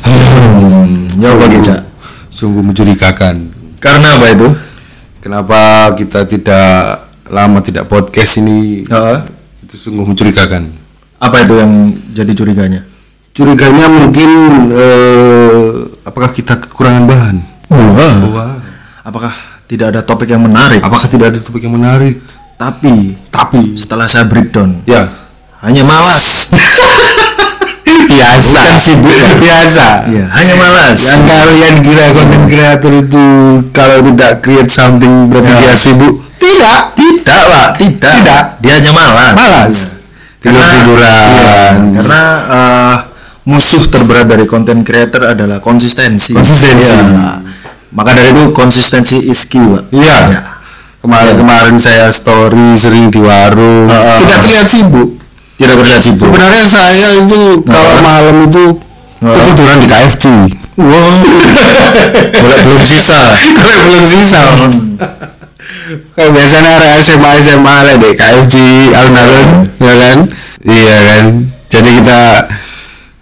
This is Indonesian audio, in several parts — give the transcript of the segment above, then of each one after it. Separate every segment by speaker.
Speaker 1: Hmm, ya Pak Geca.
Speaker 2: sungguh mencurigakan.
Speaker 1: Karena apa itu?
Speaker 2: Kenapa kita tidak lama tidak podcast ini?
Speaker 1: Heeh.
Speaker 2: Itu sungguh mencurigakan.
Speaker 1: apa itu yang jadi curiganya?
Speaker 2: Curiganya mungkin eh, apakah kita kekurangan bahan?
Speaker 1: Wah.
Speaker 2: Wah.
Speaker 1: Apakah tidak ada topik yang menarik?
Speaker 2: Apakah tidak ada topik yang menarik?
Speaker 1: Tapi,
Speaker 2: Tapi
Speaker 1: setelah saya breakdown,
Speaker 2: ya
Speaker 1: hanya malas.
Speaker 2: biasa sibuk biasa.
Speaker 1: Iya, hanya malas.
Speaker 2: Yang kalian kira content creator itu kalau tidak create something berarti dia sibuk? Tidak,
Speaker 1: Ya. Tidak, Pak. Tidak.
Speaker 2: Tidak.
Speaker 1: Dia hanya malas.
Speaker 2: Malas.
Speaker 1: Karena,
Speaker 2: Tidur-tiduran.
Speaker 1: Iya, karena eh, musuh terberat dari content creator adalah konsistensi.
Speaker 2: Konsistensi.
Speaker 1: Iya. Maka dari itu konsistensi is key, Pak.
Speaker 2: Iya.
Speaker 1: Iya.
Speaker 2: Kemarin-kemarin saya story sering di warung.
Speaker 1: Heeh.
Speaker 2: Tidak terlihat sibuk.
Speaker 1: Tidak terlihat sibuk.
Speaker 2: Sebenarnya saya itu kalau malam itu
Speaker 1: Heeh.
Speaker 2: ketiduran di KFC.
Speaker 1: Wow. belum sisa.
Speaker 2: Belum sisa. Mas. Kayak biasanya orang SMA SMA lah di KFC alun-alun, ya kan? Iya kan. Jadi kita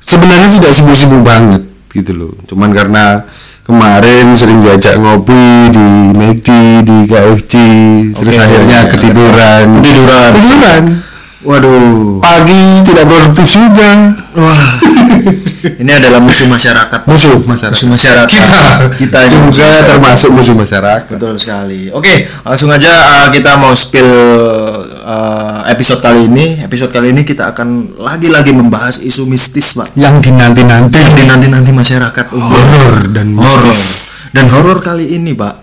Speaker 2: sebenarnya tidak sibuk-sibuk banget gitu loh. Cuman karena kemarin sering diajak ngopi di McD, di KFC, terus
Speaker 1: Oke,
Speaker 2: akhirnya
Speaker 1: iya.
Speaker 2: ketiduran.
Speaker 1: Ketiduran.
Speaker 2: Ketiduran.
Speaker 1: Waduh.
Speaker 2: Pagi tidak produktif juga.
Speaker 1: Wah. Ini adalah musuh masyarakat.
Speaker 2: Musuh masyarakat.
Speaker 1: Musuh masyarakat. Kita
Speaker 2: kita
Speaker 1: ini musuh
Speaker 2: juga
Speaker 1: masyarakat.
Speaker 2: termasuk musuh masyarakat.
Speaker 1: Betul sekali. Oke, langsung aja uh, kita mau spill uh, episode kali ini. Episode kali ini kita akan lagi-lagi membahas isu mistis, Pak.
Speaker 2: Yang dinanti-nanti
Speaker 1: Yang dinanti-nanti masyarakat.
Speaker 2: horor dan
Speaker 1: horor. Dan horor kali ini, Pak.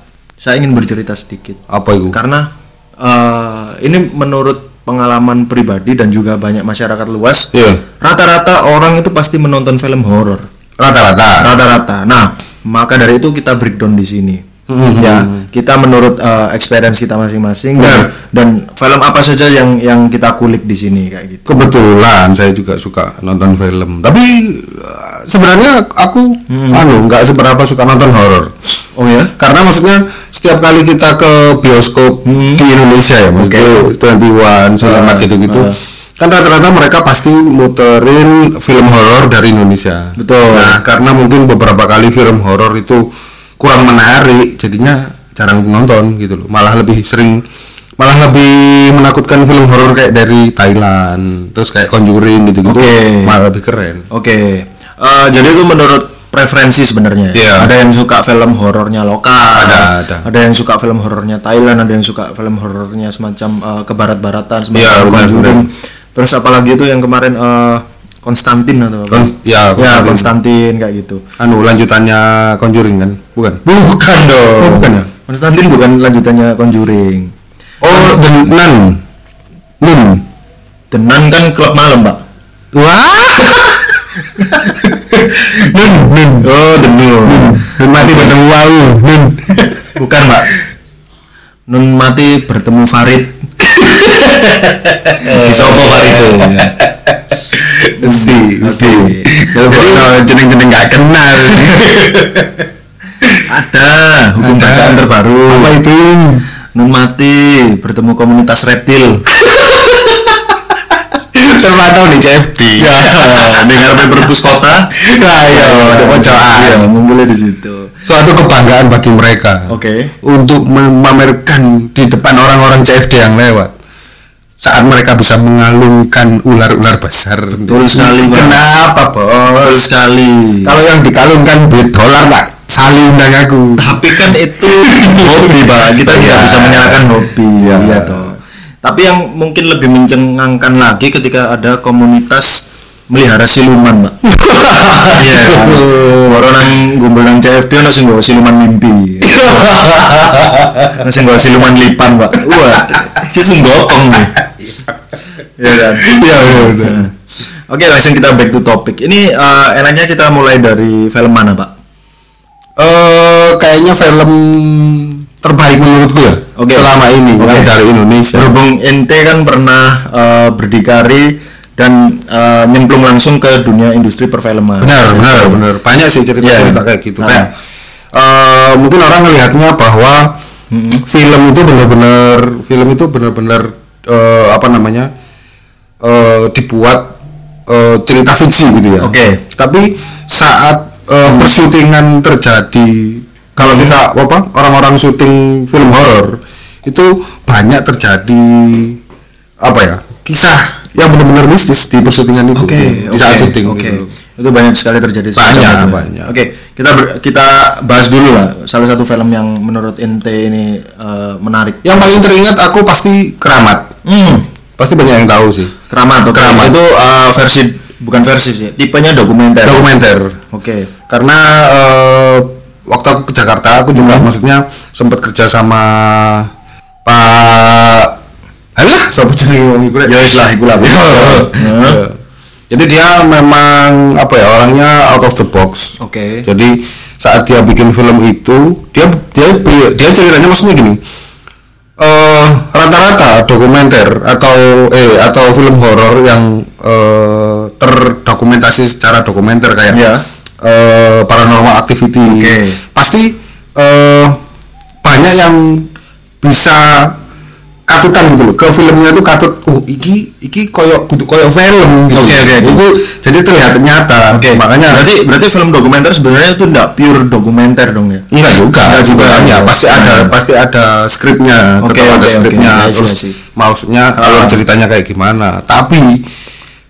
Speaker 1: Saya ingin bercerita sedikit.
Speaker 2: Apa itu?
Speaker 1: Karena uh, ini menurut pengalaman pribadi dan juga banyak masyarakat luas,
Speaker 2: Iya.
Speaker 1: rata-rata orang itu pasti menonton film horor.
Speaker 2: Rata-rata.
Speaker 1: rata-rata. Nah, maka dari itu kita breakdown di sini.
Speaker 2: Hmm.
Speaker 1: Ya, kita menurut uh, experience kita masing-masing dan, dan film apa saja yang yang kita kulik di sini kayak gitu.
Speaker 2: Kebetulan saya juga suka nonton film, tapi eh, sebenarnya aku anu nggak seberapa suka nonton horor.
Speaker 1: Oh ya?
Speaker 2: Karena maksudnya setiap kali kita ke bioskop di Indonesia ya, maksudnya Twenty One,
Speaker 1: Hmm. Ah,
Speaker 2: gitu-gitu,
Speaker 1: ah.
Speaker 2: kan rata-rata mereka pasti muterin film horor dari Indonesia.
Speaker 1: Betul.
Speaker 2: Nah, karena mungkin beberapa kali film horor itu kurang menarik, jadinya jarang nonton gitu loh. Malah lebih sering malah lebih menakutkan film horor kayak dari Thailand, terus kayak Conjuring gitu-gitu.
Speaker 1: Oke.
Speaker 2: Malah lebih keren.
Speaker 1: Oke. Eh, jadi itu menurut preferensi sebenarnya.
Speaker 2: Iya.
Speaker 1: Ada yang suka film horornya lokal,
Speaker 2: Ada, ada.
Speaker 1: yang suka film horornya Thailand, ada yang suka film horornya semacam eh, kebarat-baratan, semacam
Speaker 2: Iya, benar,
Speaker 1: Conjuring. Terus apalagi itu yang kemarin eh, Konstantin atau apa?
Speaker 2: Kon-
Speaker 1: ya
Speaker 2: ya, Konstantin.
Speaker 1: Konstantin kayak gitu.
Speaker 2: Anu lanjutannya Conjuring kan? Bukan.
Speaker 1: Bukan dong.
Speaker 2: Oh, bukan ya?
Speaker 1: Konstantin bukan lanjutannya Conjuring.
Speaker 2: Oh, The Nun. Nun.
Speaker 1: The Nun kan klub malam, Pak.
Speaker 2: Wah. Nun, Nun.
Speaker 1: Oh, The Nun.
Speaker 2: Nun mati bertemu wau. Nun.
Speaker 1: Bukan, Pak. Nun mati bertemu Farid. Di Sopo Pak itu.
Speaker 2: Mesti, mesti.
Speaker 1: Kalau
Speaker 2: Kalau
Speaker 1: bakal
Speaker 2: jeneng-jeneng gak kenal.
Speaker 1: Ada hukum
Speaker 2: Ada.
Speaker 1: bacaan terbaru.
Speaker 2: Apa itu?
Speaker 1: Nun mati bertemu komunitas reptil.
Speaker 2: Terpantau Kan di Nah, CFD.
Speaker 1: Ya, dengar perpus kota.
Speaker 2: Ayo, iya. ada
Speaker 1: Oh, Iya,
Speaker 2: pojokan.
Speaker 1: ngumpulnya di situ.
Speaker 2: Iya. Suatu kebanggaan bagi mereka.
Speaker 1: Oke.
Speaker 2: Untuk memamerkan di depan orang-orang CFD yang lewat saat mereka bisa mengalungkan ular-ular besar.
Speaker 1: Betul sekali, Pak.
Speaker 2: Kenapa,
Speaker 1: Betul
Speaker 2: Bos?
Speaker 1: sekali.
Speaker 2: Kalau yang dikalungkan duit dolar tak Ali undang aku
Speaker 1: tapi kan itu hobi pak kita tidak
Speaker 2: Iya.
Speaker 1: bisa menyalahkan hobi
Speaker 2: Iya.
Speaker 1: ya toh tapi yang mungkin lebih mencengangkan lagi ketika ada komunitas melihara siluman pak iya kan baru nang gumbel nang CFD ono sing nggawa siluman mimpi ono sing nggawa siluman lipan pak wah iki sunggokong nih iya kan
Speaker 2: ya udah
Speaker 1: Oke langsung kita back to topic. Ini eh, enaknya kita mulai dari film mana pak?
Speaker 2: Eh, kayaknya film terbaik menurutku ya
Speaker 1: Oke.
Speaker 2: selama ini
Speaker 1: Oke.
Speaker 2: yang dari Indonesia
Speaker 1: Berhubung ente kan pernah eh, berdikari dan eh, nyemplung langsung ke dunia industri perfilman.
Speaker 2: benar benar benar banyak sih cerita cerita
Speaker 1: Iya.
Speaker 2: kayak gitu
Speaker 1: Nah.
Speaker 2: kayak eh, mungkin orang melihatnya bahwa film itu benar-benar film itu benar-benar eh, apa namanya eh, dibuat eh, cerita fiksi gitu ya
Speaker 1: Oke.
Speaker 2: tapi saat eh, persyutingan terjadi kalau kita apa orang-orang syuting film horor itu banyak terjadi apa ya kisah yang benar-benar mistis di persyutingan itu di saat syuting
Speaker 1: oke.
Speaker 2: gitu.
Speaker 1: Itu banyak sekali terjadi.
Speaker 2: Banyak,
Speaker 1: sekarang itu.
Speaker 2: banyak.
Speaker 1: Oke, kita ber- kita bahas dulu lah salah satu film yang menurut ente ini eh, menarik.
Speaker 2: yang paling teringat aku pasti keramat
Speaker 1: Hmm,
Speaker 2: pasti banyak yang tahu sih
Speaker 1: Keramat, oke.
Speaker 2: Keramat.
Speaker 1: Itu eh, versi bukan versi sih, tipenya dokumenter.
Speaker 2: dokumenter
Speaker 1: Oke.
Speaker 2: karena eh, waktu aku ke Jakarta aku juga
Speaker 1: Hmm.
Speaker 2: maksudnya sempat kerja sama Pak Alah, siapa jenenge wong iku rek?
Speaker 1: Ya wis lah, iku lah.
Speaker 2: Iya.
Speaker 1: Heeh.
Speaker 2: Iya. Jadi dia memang apa ya orangnya out of the box.
Speaker 1: Oke.
Speaker 2: Jadi saat dia bikin film itu dia dia dia ceritanya maksudnya gini. eh, rata-rata dokumenter atau eh atau film horor yang eh, terdokumentasi secara dokumenter kayak
Speaker 1: Iya.
Speaker 2: eh, paranormal activity
Speaker 1: Oke.
Speaker 2: pasti eh, banyak yang bisa katutan gitu loh ke filmnya tuh katut oh iki iki koyok kudu koyok film gitu
Speaker 1: Oke, oke, oke.
Speaker 2: Itu jadi terlihat nyata
Speaker 1: Oke,
Speaker 2: makanya
Speaker 1: berarti berarti film dokumenter sebenarnya itu enggak pure dokumenter dong ya.
Speaker 2: enggak juga
Speaker 1: Enggak juga.
Speaker 2: ya pasti ada
Speaker 1: Hmm.
Speaker 2: pasti ada skripnya
Speaker 1: Oke,
Speaker 2: tetap
Speaker 1: oke,
Speaker 2: ada
Speaker 1: oke.
Speaker 2: skripnya
Speaker 1: I see,
Speaker 2: terus
Speaker 1: I see.
Speaker 2: maksudnya alur ceritanya kayak gimana tapi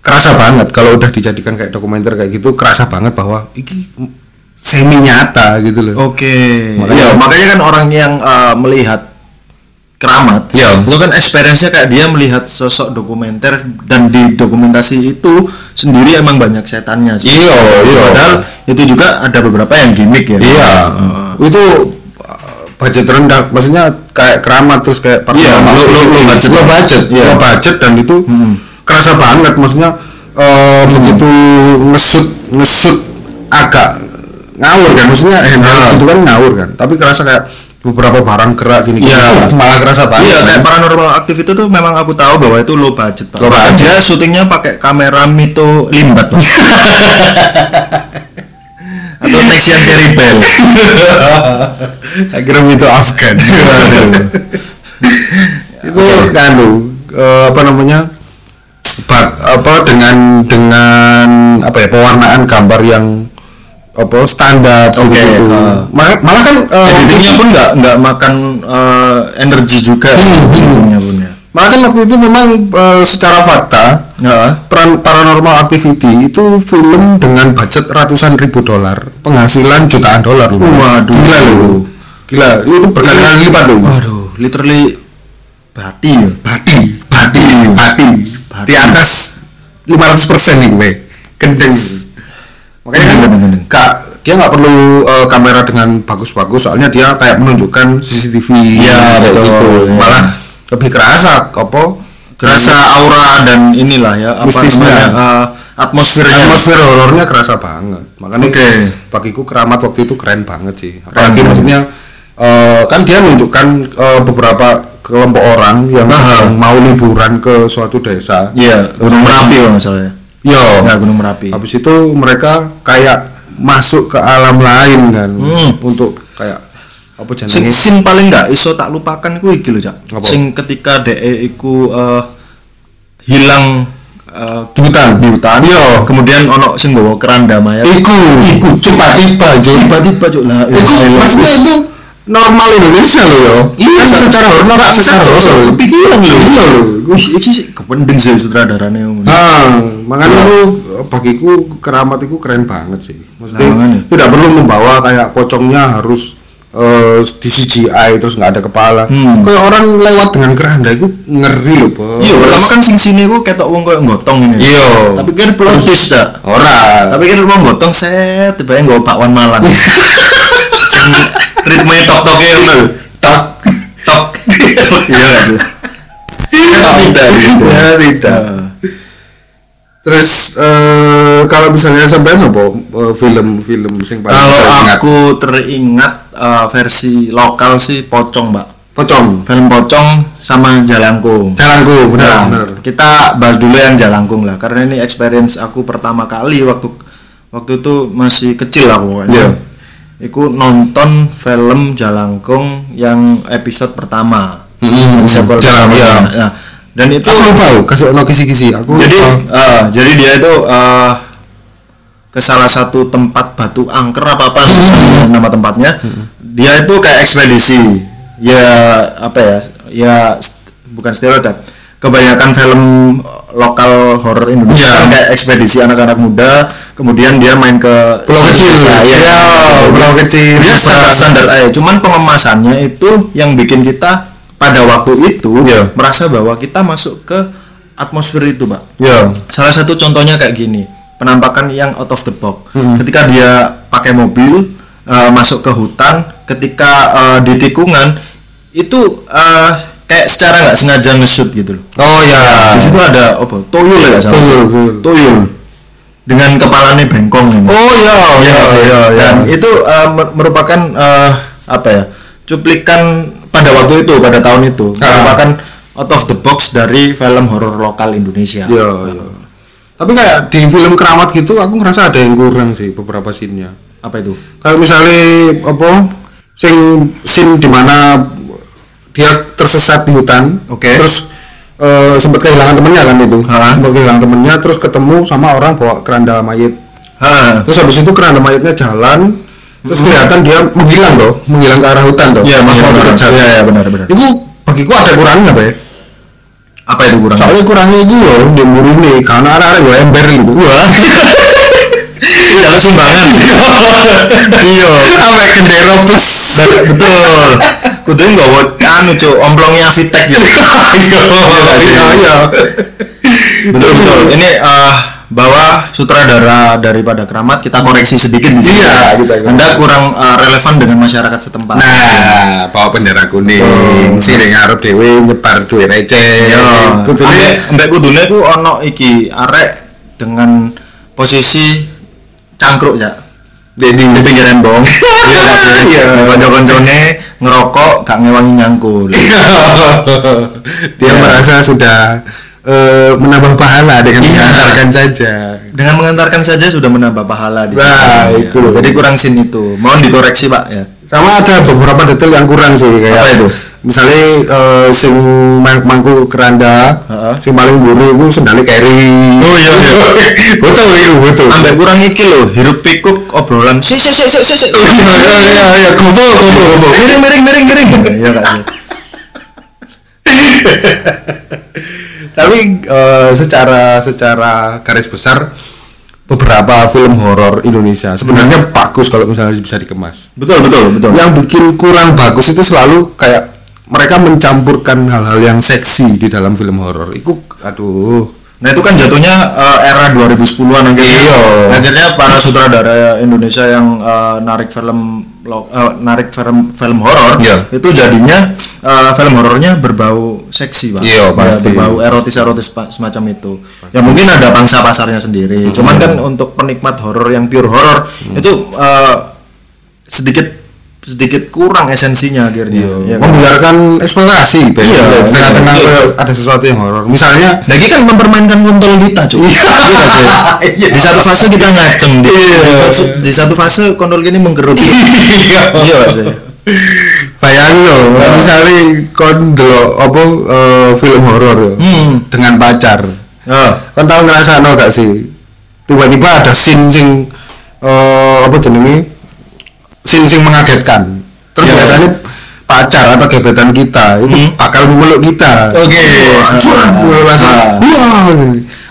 Speaker 2: kerasa banget kalau udah dijadikan kayak dokumenter kayak gitu kerasa banget bahwa iki semi nyata gitu loh
Speaker 1: Oke.
Speaker 2: Makanya-
Speaker 1: Makanya, makanya kan orang yang eh, melihat keramat,
Speaker 2: Iya.
Speaker 1: itu kan experience-nya kayak dia melihat sosok dokumenter dan di dokumentasi itu sendiri emang banyak setannya. sih.
Speaker 2: Iya, iya.
Speaker 1: Padahal itu juga ada beberapa yang gimmick ya.
Speaker 2: Iya, itu uh, budget rendah. Maksudnya kayak keramat terus kayak paranormal.
Speaker 1: Iya, low- low- low budget.
Speaker 2: low budget,
Speaker 1: Iya. Hmm.
Speaker 2: low budget dan itu kerasa banget. Maksudnya uh, begitu ngesut ngesut agak ngawur kan. Maksudnya
Speaker 1: Iya.
Speaker 2: eh, ngawur itu kan ngawur kan. Tapi kerasa kayak beberapa barang gerak gini.
Speaker 1: Iya.
Speaker 2: Uh, malah kerasa banget.
Speaker 1: Iya, kayak
Speaker 2: kan.
Speaker 1: paranormal activity itu memang aku tahu bahwa itu low budget, Pak.
Speaker 2: Low
Speaker 1: Bahkan
Speaker 2: budget.
Speaker 1: Dia syutingnya pakai kamera Mito Limbat, Pak. Atau Tasya Cherry Bell.
Speaker 2: akhirnya itu Afgan itu kanu eh, apa namanya sebab apa dengan dengan apa ya pewarnaan gambar yang apa standar
Speaker 1: Oke,
Speaker 2: gitu
Speaker 1: eh.
Speaker 2: malah, malah kan eh, waktu
Speaker 1: Editingnya
Speaker 2: itu-
Speaker 1: pun nggak nggak makan eh, energi juga.
Speaker 2: Hmm,
Speaker 1: Editingnya pun ya.
Speaker 2: malah kan waktu itu memang eh, secara fakta
Speaker 1: Nah,
Speaker 2: Peran- Paranormal Activity itu film dengan budget ratusan ribu dolar, penghasilan jutaan dolar loh.
Speaker 1: Waduh. Iya.
Speaker 2: gila loh. Gila, itu berkali-kali lipat loh.
Speaker 1: waduh, literally bati ya.
Speaker 2: Bati, bati, bati,
Speaker 1: Bati.
Speaker 2: di atas 500 persen nih gue, kenceng. Makanya kan,
Speaker 1: Bener, bener, bener.
Speaker 2: Kak, dia nggak perlu eh, kamera dengan bagus-bagus, soalnya dia kayak menunjukkan CCTV.
Speaker 1: Iya,
Speaker 2: kayak
Speaker 1: betul, ya.
Speaker 2: Gitu. Malah lebih kerasa, apa?
Speaker 1: Terasa aura dan inilah ya apa
Speaker 2: Mistisnya.
Speaker 1: namanya eh, atmosfernya.
Speaker 2: atmosfer horornya kerasa banget makanya
Speaker 1: Oke.
Speaker 2: bagiku keramat waktu itu keren banget sih apalagi
Speaker 1: Keren.
Speaker 2: maksudnya eh, kan dia nunjukkan eh, beberapa kelompok orang yang
Speaker 1: Aha.
Speaker 2: yang mau liburan ke suatu desa
Speaker 1: Iya, Gunung Merapi kalau nggak salah ya.
Speaker 2: yo
Speaker 1: Ya, Gunung Merapi.
Speaker 2: Oh. habis itu mereka kayak masuk ke alam lain kan
Speaker 1: Hmm.
Speaker 2: untuk kayak apa
Speaker 1: sing
Speaker 2: jenenge
Speaker 1: sing paling nggak iso tak lupakan ku iki lho Cak.
Speaker 2: Apa?
Speaker 1: Sing ketika DE iku eh, hilang eh,
Speaker 2: Di hutan.
Speaker 1: di hutan.
Speaker 2: Iya.
Speaker 1: Kemudian ono sing nggawa keranda mayat.
Speaker 2: iku
Speaker 1: Iku,
Speaker 2: tiba-tiba Jo.
Speaker 1: Tiba-tiba cuk lah.
Speaker 2: itu maksudnya itu normal Indonesia loh yo
Speaker 1: Iya,
Speaker 2: Kan secara hormat
Speaker 1: Pak, secara hormat.
Speaker 2: kepikiran loh
Speaker 3: Nah,
Speaker 1: Wih, iki sih kepending sih sutradarane.
Speaker 2: Ah,
Speaker 1: Iya.
Speaker 3: makanya itu bagiku keramat itu keren banget sih maksudnya
Speaker 1: Nah, makanya.
Speaker 3: tidak perlu membawa kayak pocongnya harus eh, di CGI terus nggak ada kepala
Speaker 1: Hmm.
Speaker 3: kayak orang lewat dengan keranda itu ngeri loh bos
Speaker 1: Iya, pertama kan sing sini ku ketok wong koyo nggotong ini.
Speaker 3: Iya.
Speaker 1: Tapi kan plot twist cak.
Speaker 3: Ora.
Speaker 1: Tapi kan wong nggotong set tiba nggo bakwan malang. sing ritme tok-tok itu lho. Tok tok. Iya nggak sih. Tetap tidak. Iya,
Speaker 3: Ya, tidak. Terus eh, kalau misalnya sampean apa eh, film-film sing paling
Speaker 1: Kalau
Speaker 3: teringat?
Speaker 1: aku teringat eh, versi lokal sih pocong, Mbak.
Speaker 3: pocong
Speaker 1: Film pocong sama Jalangkung.
Speaker 3: jalanku benar
Speaker 1: Nah,
Speaker 3: benar.
Speaker 1: kita bahas dulu yang Jalangkung lah karena ini experience aku pertama kali waktu waktu itu masih kecil aku pokoknya.
Speaker 3: Iya.
Speaker 1: Iku nonton film Jalangkung yang episode pertama.
Speaker 3: Hmm,
Speaker 1: Episode
Speaker 3: Jalangkung.
Speaker 1: pertama. Nah, dan itu
Speaker 3: Aku lupa loh, kasih no kisi-kisi. Aku
Speaker 1: jadi
Speaker 3: lupa.
Speaker 1: eh, jadi dia itu eh, ke salah satu tempat batu angker apa
Speaker 3: Hmm.
Speaker 1: apa nama tempatnya dia itu kayak ekspedisi ya apa ya ya st- bukan stereotip kebanyakan film lokal horor Indonesia
Speaker 3: Hmm.
Speaker 1: kan kayak ekspedisi anak-anak muda kemudian dia main ke
Speaker 3: Pulau kecil.
Speaker 1: Nah, iya.
Speaker 3: Iya, pulau kecil.
Speaker 1: dia standar standar aja cuman pengemasannya itu yang bikin kita pada waktu itu
Speaker 3: Iya.
Speaker 1: merasa bahwa kita masuk ke atmosfer itu pak
Speaker 3: Ya.
Speaker 1: Salah satu contohnya kayak gini, penampakan yang out of the box. Ketika dia pakai mobil eh, masuk ke hutan, ketika eh, di tikungan itu eh, kayak secara nggak sengaja nge-shoot gitu loh.
Speaker 3: Oh ya.
Speaker 2: Ah.
Speaker 1: Di situ ada apa? Tuyul ya nggak salah.
Speaker 3: Tuyul, Iya. tuyul.
Speaker 1: Tuyul. Dengan kepalanya bengkong ini.
Speaker 3: Oh ya.
Speaker 1: Iya
Speaker 3: Ya
Speaker 1: nggak sih?
Speaker 3: ya ya.
Speaker 1: Dan itu eh, mer- merupakan eh, apa ya? Cuplikan pada waktu itu, pada tahun itu,
Speaker 3: Ah.
Speaker 1: merupakan out of the box dari film horor lokal Indonesia.
Speaker 2: Iya.
Speaker 3: Ya ya. Tapi kayak di film keramat gitu aku ngerasa ada yang kurang sih beberapa scene-nya.
Speaker 1: Apa itu?
Speaker 3: Kayak misalnya apa? Sing scene di mana dia tersesat di hutan.
Speaker 1: Oke.
Speaker 3: Terus eh, sempat kehilangan temennya kan itu.
Speaker 1: Ha.
Speaker 3: Sempat kehilangan temennya terus ketemu sama orang bawa keranda mayit.
Speaker 2: Ah.
Speaker 1: Hah.
Speaker 3: Terus habis itu keranda mayatnya jalan,
Speaker 1: Hmm.
Speaker 3: terus kelihatan dia menghilang loh, menghilang ke arah hutan loh.
Speaker 1: Iya,
Speaker 3: Pas
Speaker 1: iya,
Speaker 3: mau
Speaker 1: benar.
Speaker 3: dikejar.
Speaker 1: Iya, iya, benar, benar.
Speaker 3: Itu bagiku ada kurangnya, Pak.
Speaker 1: apa itu kurang?
Speaker 3: Soalnya kurangnya itu loh, di murni karena arah-arah gue ember gitu. Wah,
Speaker 1: Iya, sumbangan.
Speaker 3: iya. Apa kayak gendera plus.
Speaker 1: Betul. Kudu nggak buat anu cu, omplongnya Vitek gitu.
Speaker 3: Iya, ya. iya.
Speaker 1: Betul betul. Ini eh, bahwa sutradara daripada Keramat kita koreksi sedikit di sini.
Speaker 3: Iya, kita koreksi.
Speaker 1: Anda kurang eh, relevan dengan masyarakat setempat.
Speaker 3: Nah, bawa bendera kuning, sih ngarep dewe nyebar duit receh.
Speaker 1: Yo, ambek
Speaker 3: Kudune
Speaker 1: Ya. ambek Iya, kudune ku ono iki arek dengan posisi cangkruk ya.
Speaker 3: Dedi
Speaker 1: di pinggiran bong
Speaker 3: Iya.
Speaker 1: konco-koncone ngerokok gak ngewangi nyangkul
Speaker 3: dia
Speaker 1: Iya.
Speaker 3: merasa sudah eh, menambah pahala dengan
Speaker 1: Iya.
Speaker 3: mengantarkan saja.
Speaker 1: dengan mengantarkan saja sudah menambah pahala di
Speaker 3: Nah,
Speaker 1: sini.
Speaker 3: itu
Speaker 1: Ya,
Speaker 3: loh.
Speaker 1: jadi kurang sin itu mohon dikoreksi pak ya
Speaker 3: sama ada beberapa detail yang kurang sih kayak
Speaker 1: Apa itu?
Speaker 3: misalnya eh, sing mang- mangku keranda
Speaker 1: Heeh.
Speaker 3: sing paling buru itu sendalnya carry
Speaker 1: Oh, iya, iya.
Speaker 3: betul itu betul
Speaker 1: ambek kurang iki loh hirup pikuk obrolan sik sik sik sik sik, sik
Speaker 3: iya iya iya kumpul kumpul
Speaker 1: miring miring miring miring ya kak sih
Speaker 3: tapi eh, secara secara garis besar beberapa film horor Indonesia sebenarnya bagus kalau misalnya bisa dikemas
Speaker 1: betul betul betul
Speaker 3: Hmm. yang bikin kurang bagus itu selalu kayak mereka mencampurkan hal-hal yang seksi di dalam film horor itu aduh
Speaker 1: Nah itu kan jatuhnya eh, era 2010-an akhirnya.
Speaker 3: Iya.
Speaker 1: Akhirnya para sutradara Indonesia yang eh, narik film lo- eh, narik film film horor
Speaker 3: Iya.
Speaker 1: itu jadinya eh, film horornya berbau seksi pak.
Speaker 3: Iya,
Speaker 1: Ya,
Speaker 3: pasti.
Speaker 1: berbau erotis erotis semacam itu. Ya mungkin ada bangsa pasarnya sendiri.
Speaker 3: Mm-hmm.
Speaker 1: Cuman kan untuk penikmat horor yang pure horor
Speaker 3: Mm.
Speaker 1: itu eh, sedikit sedikit kurang esensinya akhirnya. Iya kan?
Speaker 3: membiarkan eksplorasi Bel.
Speaker 1: Iya,
Speaker 3: Bel.
Speaker 1: benar.
Speaker 3: Tengah-tengah
Speaker 1: Iya.
Speaker 3: ada- ada sesuatu yang horor misalnya
Speaker 1: Lagi kan mempermainkan kontrol kita, cuy. Iya,
Speaker 3: Iya.
Speaker 1: Di satu fase kita ngaceng, di, di, fase- di satu fase kontrol gini mengkerut. Iya, Mas.
Speaker 3: bayangin loh misalnya kon delok apa eh, film horor ya,
Speaker 1: Hmm.
Speaker 3: dengan pacar
Speaker 1: Oh,
Speaker 3: kon tau ngerasa no gak sih tiba-tiba ada scene sing eh, apa jenenge scene sing mengagetkan terus
Speaker 1: Iya.
Speaker 3: biasanya pacar atau gebetan kita itu
Speaker 1: Hmm. Oh,
Speaker 3: bakal memeluk kita
Speaker 1: Oke.
Speaker 3: Aduh, gue langsung
Speaker 1: Ah.
Speaker 3: wah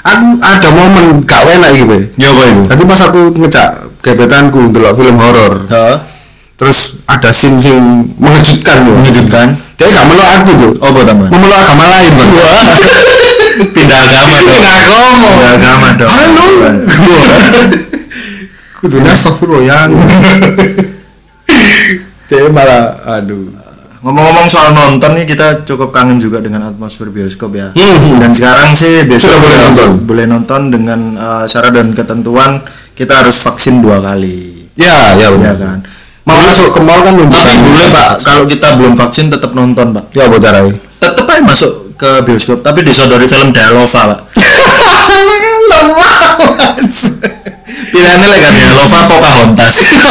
Speaker 3: aku ada momen gak enak gitu
Speaker 1: Ya apa itu?
Speaker 3: Tadi pas aku ngejak gebetanku ndelok film horor,
Speaker 1: Heeh.
Speaker 3: terus ada scene sing mengejutkan
Speaker 1: Iya.
Speaker 3: loh.
Speaker 1: Mengejutkan.
Speaker 3: Dia gak meluk aku tuh,
Speaker 1: Apa teman?
Speaker 3: memeluk agama lain bang.
Speaker 1: Pindah agama kan dong.
Speaker 3: Pindah agama.
Speaker 1: Pindah agama dong.
Speaker 3: Anu, kudunya astagfirullah yang. Dia malah, aduh.
Speaker 1: Ngomong-ngomong soal nonton nih kita cukup kangen juga dengan atmosfer bioskop ya.
Speaker 3: Hmm.
Speaker 1: Dan sekarang sih bioskop
Speaker 3: Sudah boleh
Speaker 1: juga
Speaker 3: nonton.
Speaker 1: Boleh nonton dengan eh, syarat dan ketentuan kita harus vaksin dua kali.
Speaker 3: Ya,
Speaker 1: Ya
Speaker 3: ya benar
Speaker 1: kan.
Speaker 3: Mau masuk ke mall kan belum.
Speaker 1: Tapi boleh Pak, Iya, kalau kita belum vaksin tetap nonton Pak.
Speaker 3: Ya buat arai.
Speaker 1: Tetap aja masuk ke bioskop tapi disodori film Dialova Pak.
Speaker 3: Pilihannya lah kan.
Speaker 1: Dialova Pocahontas.
Speaker 3: Yang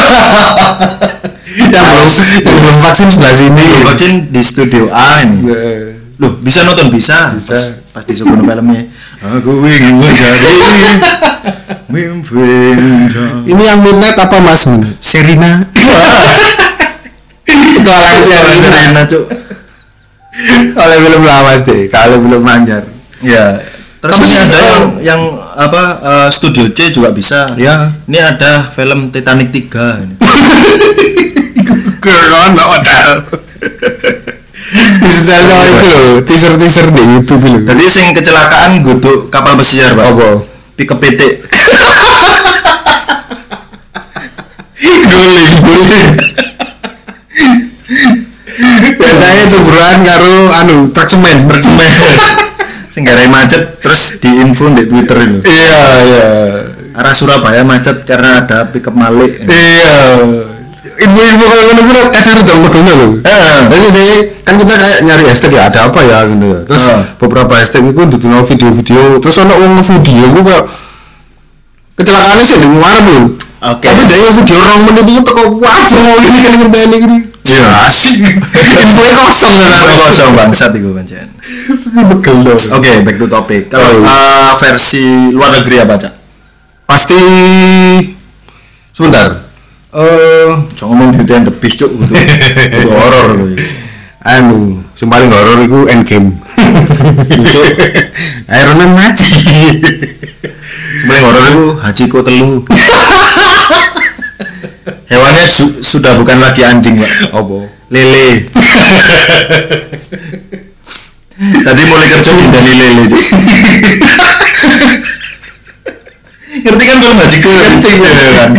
Speaker 1: Iya,
Speaker 3: belum, yang belum vaksin sebelah sini.
Speaker 1: Belum vaksin di studio A ini.
Speaker 3: Eh.
Speaker 1: Loh, bisa nonton Iya. bisa.
Speaker 3: Bisa.
Speaker 1: Pas, pas disuguhin filmnya. Aku ingin menjadi mimpi indah.
Speaker 3: Ini yang midnight apa mas? Serina. Itu aja Iya.
Speaker 1: Jangan enak, Iya, Cuk.
Speaker 3: Oleh belum lawas deh, kalau belum manjar.
Speaker 1: Ya. Terus ini ada yang, Iya. yang apa eh, Studio C juga bisa.
Speaker 3: Ya.
Speaker 1: Ini ada film Titanic 3 ini.
Speaker 3: Kurang nggak modal. Teaser itu loh, teaser teaser di YouTube loh.
Speaker 1: Jadi sing kecelakaan guduk kapal pesiar, Pak.
Speaker 3: Apa?
Speaker 1: Pik kepitik.
Speaker 3: Duli, duli. Biasanya cumburan karo anu truk semen, truk semen.
Speaker 1: sing garai macet terus diinfo di Twitter ini.
Speaker 3: Iya, iya.
Speaker 1: Arah Surabaya macet karena ada pickup Malik.
Speaker 3: Iya. Info-info kalau ngono kuwi kadang udah megono lho.
Speaker 1: Heeh.
Speaker 3: Jadi jadi kan kita kayak nyari hashtag ya ada apa ya gitu ya. Terus
Speaker 1: Heeh.
Speaker 3: beberapa hashtag itu dituno video-video. Terus ono wong video itu kok kecelakaannya sih di luar tuh.
Speaker 1: Oke.
Speaker 3: Tapi dia video orang menit itu kok wah mau ini kali ngerti ini gini.
Speaker 1: Iya.
Speaker 3: Info kosong ya.
Speaker 1: Kue kosong bangsat iku pancen. kan
Speaker 3: Megono.
Speaker 1: Oke, back to topic. Kalau
Speaker 3: Oh, iya.
Speaker 1: uh, versi luar negeri apa, Cak?
Speaker 3: Pasti sebentar. Eh
Speaker 1: Jangan ngomong Beauty and the Beast, Cuk. Itu itu horor loh. itu.
Speaker 3: anu sing paling horor iku Endgame lucu Iron Man mati
Speaker 1: Sebenarnya horor itu Hachiko telu. Hewannya ju- sudah bukan lagi anjing, Pak.
Speaker 3: opo
Speaker 1: Lele. Tadi mulai kerja pindah lele, Cuk. Ngerti kan film Hachiko?
Speaker 3: Ngerti, ngerti.
Speaker 1: kan?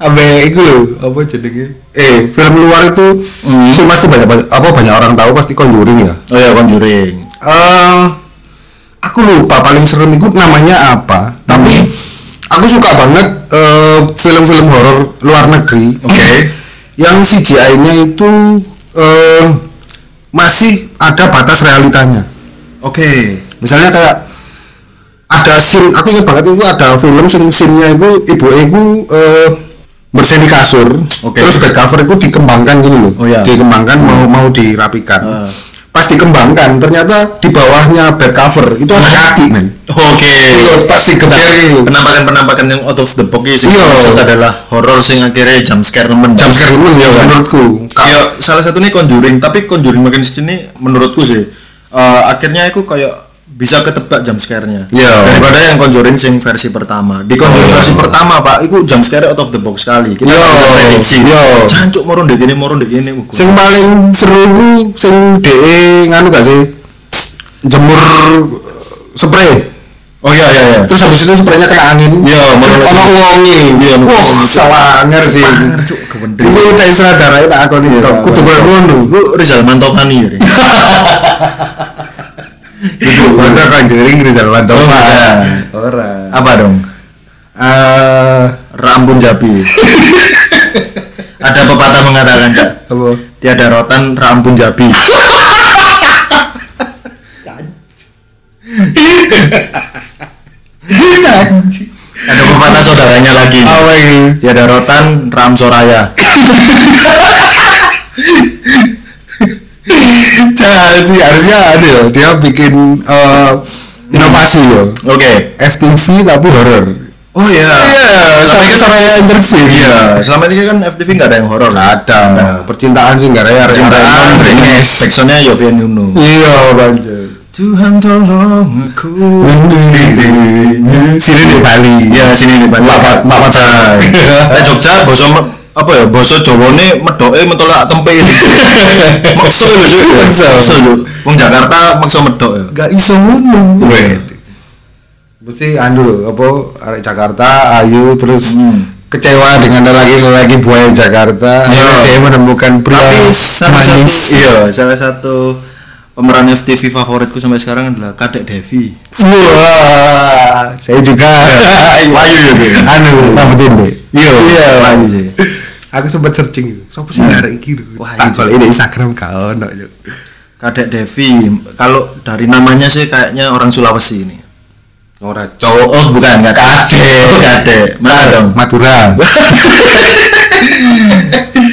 Speaker 3: abe iku lho apa jenenge eh film luar itu sing pasti banyak apa banyak orang tahu pasti Conjuring ya
Speaker 1: Oh ya, Conjuring.
Speaker 3: eh aku lupa paling serem itu namanya apa tapi aku suka banget eh, film-film horor luar negeri
Speaker 1: Oke.
Speaker 3: yang CGI-nya itu eh, masih ada batas realitanya
Speaker 1: Oke.
Speaker 3: misalnya kayak ada scene aku ingat banget itu ada film scene scene-nya itu ibu itu eh, bersin di kasur
Speaker 1: Oke.
Speaker 3: terus bed cover itu dikembangkan gitu loh
Speaker 1: Oh, iya.
Speaker 3: dikembangkan mau mau dirapikan
Speaker 1: Ah.
Speaker 3: pas dikembangkan ternyata di bawahnya bed cover itu
Speaker 1: Nah.
Speaker 3: ada kaki men
Speaker 1: Oke.
Speaker 3: Iya, pas dikembangkan itu.
Speaker 1: penampakan-penampakan yang out of the box ini sih
Speaker 3: Iya.
Speaker 1: maksud adalah horor sing akhirnya jump scare nemen
Speaker 3: jam scare men ya menurutku Ka-
Speaker 1: ya salah satunya Conjuring tapi Conjuring makin sini menurutku sih eh, akhirnya aku kayak bisa ketebak jump scare-nya
Speaker 3: Iya.
Speaker 1: daripada yang Conjuring sing versi pertama di Conjuring
Speaker 3: Oh.
Speaker 1: versi pertama pak itu jump scare out of the box sekali kita
Speaker 3: Iya.
Speaker 1: nggak prediksi
Speaker 3: Iya.
Speaker 1: cancuk moro ndek kene moro ndek kene
Speaker 3: sing paling seru itu sing de nganu gak sih jemur eh, spray
Speaker 1: oh iya iya iya
Speaker 3: terus habis itu spraynya kena angin
Speaker 1: Iya,
Speaker 3: terus
Speaker 1: makanya
Speaker 3: ono
Speaker 1: sih.
Speaker 3: uangi
Speaker 1: Iya,
Speaker 3: wah
Speaker 2: Iya
Speaker 3: sawanger sih
Speaker 1: Sawanger, Cuk, kebending.
Speaker 3: itu udah ya, istilah darahnya tak akoni Tok, kudu koyo ngono
Speaker 1: gue Rizal Mantovani ya Ri.
Speaker 3: baca conjuring Rizal Mantofa
Speaker 1: Ora. Apa dong?
Speaker 3: eh
Speaker 1: Rambun Jabi. Ada pepatah mengatakan Kak,
Speaker 3: apa
Speaker 1: tiada rotan rambun Jabi. Ada pepatah saudaranya lagi.
Speaker 3: apa ini
Speaker 1: Tiada rotan ram Soraya.
Speaker 3: Jangan sih harusnya ada ya dia bikin eh, inovasi ya
Speaker 1: Oke.
Speaker 3: FTV tapi horror
Speaker 1: Oh Oh iya.
Speaker 2: Soalnya
Speaker 3: kan-
Speaker 2: sama yang interview
Speaker 1: Iya, selama ini kan FTV nggak ada yang horor.
Speaker 3: Nggak ada. Nah. Percintaan sih nggak ada ya.
Speaker 1: Cintaan, Drenes, Jacksonnya Yovian Yuno.
Speaker 3: Iya, banjir.
Speaker 1: Tuhan tolong aku.
Speaker 2: Sini di Bali.
Speaker 1: Iya sini di Bali.
Speaker 2: Bapak- bapak
Speaker 1: Nah, eh, Jogja boso me- apa ya boso Jawone medoke mentolak tempe. Makso lho. Cuk.
Speaker 2: Makso.
Speaker 1: Makso lho. Wong Jakarta makso medok ya.
Speaker 3: Gak iso ngono.
Speaker 1: Weh.
Speaker 3: Mesti anu apa arek Jakarta, Ayu terus
Speaker 1: Hmm.
Speaker 3: kecewa dengan lelaki-lelaki buaya Jakarta.
Speaker 1: Iya.
Speaker 3: Akhirnya Dia menemukan pria
Speaker 1: Tapi Kan salah satu
Speaker 3: manis.
Speaker 1: iya, salah satu pemeran FTV favoritku sampai sekarang adalah Kadek Devi.
Speaker 3: Iya. Wah, saya juga.
Speaker 1: Layu ya dia.
Speaker 3: Anu,
Speaker 2: Rambut ini.
Speaker 3: Iya,
Speaker 1: Iya, layu dia.
Speaker 3: Aku sempat searching. Sopo sih arek iki?
Speaker 1: Wah, iya.
Speaker 3: Wah, soal ini Instagram gak ono. Cuk.
Speaker 1: Kadek Devi, kalau dari namanya sih kayaknya orang Sulawesi ini.
Speaker 3: Ora
Speaker 1: Cowok oh, bukan Kadek. Oh, Kadek. Mana dong?
Speaker 3: Madura.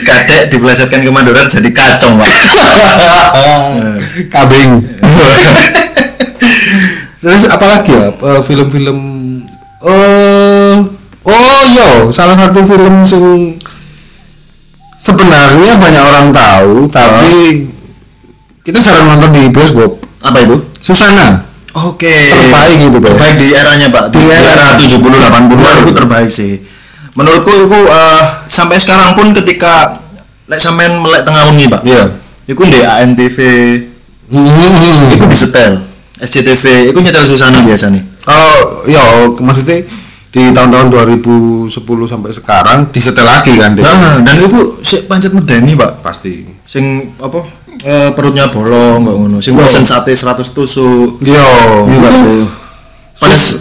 Speaker 1: Kadek dipelesetkan ke Madura jadi kacong, Pak.
Speaker 3: Kabing.
Speaker 1: Iya.
Speaker 3: Terus apa lagi ya Eh, film-film eh oh yo salah satu film sing sebenarnya banyak orang tahu tapi kita jarang nonton di bioskop.
Speaker 1: Apa itu?
Speaker 3: Susana
Speaker 1: Oke.
Speaker 3: Terbaik gitu, Pak.
Speaker 1: Iya. Terbaik di eranya, Pak. Di,
Speaker 3: Di
Speaker 1: era
Speaker 3: era.
Speaker 1: 70 80 itu terbaik sih. Menurutku itu eh, sampai sekarang pun ketika lek sampean melek tengah wengi, Pak.
Speaker 3: Iya.
Speaker 1: Iku di ANTV, iku disetel. SCTV, iku nyetel Susana biasa nih.
Speaker 3: Oh, yo maksudnya di tahun-tahun 2010 sampai sekarang disetel lagi kan deh.
Speaker 1: Nah, dan iku sik pancet medeni, Pak.
Speaker 3: Pasti.
Speaker 1: Sing apa? Eh, perutnya bolong kok ngono. Sing pesen sate 100 tusuk.
Speaker 3: Yo,
Speaker 1: Enggak
Speaker 3: itu
Speaker 1: sih. Pada, Iya.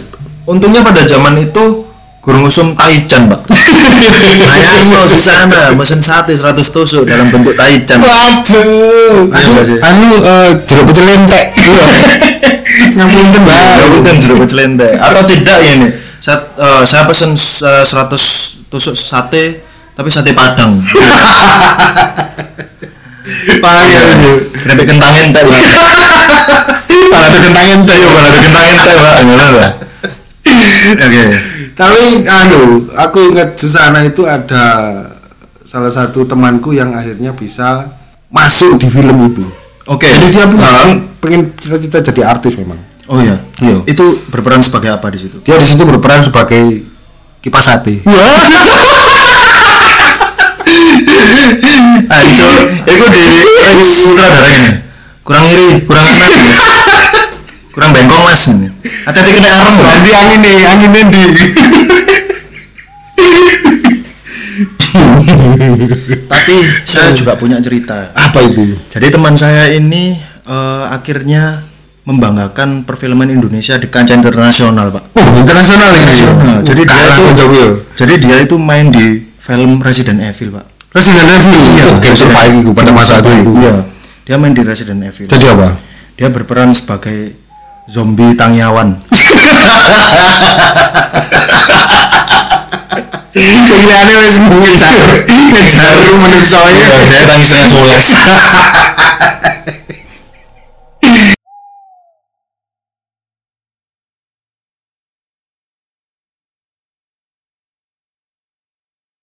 Speaker 1: untungnya pada zaman itu gurung usum taichan, Pak. Taichan kok Susana, mesin sate 100 tusuk dalam bentuk taichan.
Speaker 3: Waduh.
Speaker 1: Iya, Mas,
Speaker 3: Anu,
Speaker 1: ya.
Speaker 3: anu eh, jeruk pecel lentek. Iya, Nyambung
Speaker 1: Ya
Speaker 3: kembali.
Speaker 1: punten jeruk celende. Atau tidak ya ini? Saya, eh, saya pesen eh, 100 tusuk sate tapi sate padang.
Speaker 3: Iya. Parah.
Speaker 1: Keripik kentang entek. Pak.
Speaker 2: Balado kentang
Speaker 3: Iya,
Speaker 2: ente yo, balado kentang ente, Pak. Ngono lah.
Speaker 1: Oke.
Speaker 3: Tapi anu, aku ingat Susana itu ada salah satu temanku yang akhirnya bisa masuk di film itu.
Speaker 1: Oke.
Speaker 3: Jadi dia pengen, pengen cita-cita jadi artis memang.
Speaker 1: Oh iya.
Speaker 3: Iya.
Speaker 1: Itu berperan sebagai apa di situ?
Speaker 3: Dia di situ berperan sebagai kipas hati.
Speaker 1: Ah, itu itu Ya, di itu sutradara ini. Kurang iri, kurang iri. Kurang bengkong Mas. Hati-hati kena arem. Pak.
Speaker 3: Jadi angin nih, angin nih. Di.
Speaker 1: Tapi saya juga punya cerita.
Speaker 3: Apa itu?
Speaker 1: Jadi teman saya ini eh, akhirnya membanggakan perfilman Indonesia di kancah internasional, Pak.
Speaker 3: Oh, internasional ini.
Speaker 1: Nah, jadi dia
Speaker 3: kaya
Speaker 1: itu,
Speaker 3: Jokowi.
Speaker 1: jadi dia itu main di film Resident Evil, Pak.
Speaker 3: Resident Evil. Iya, game terbaik itu pada masa itu.
Speaker 1: Iya, dia main di Resident Evil.
Speaker 3: Jadi apa?
Speaker 1: Dia berperan sebagai zombie tangyawan.
Speaker 3: Pilihannya wis
Speaker 1: Iya,
Speaker 3: wis. Nek jarum menungsoe.
Speaker 1: kan dia tangisnya culas.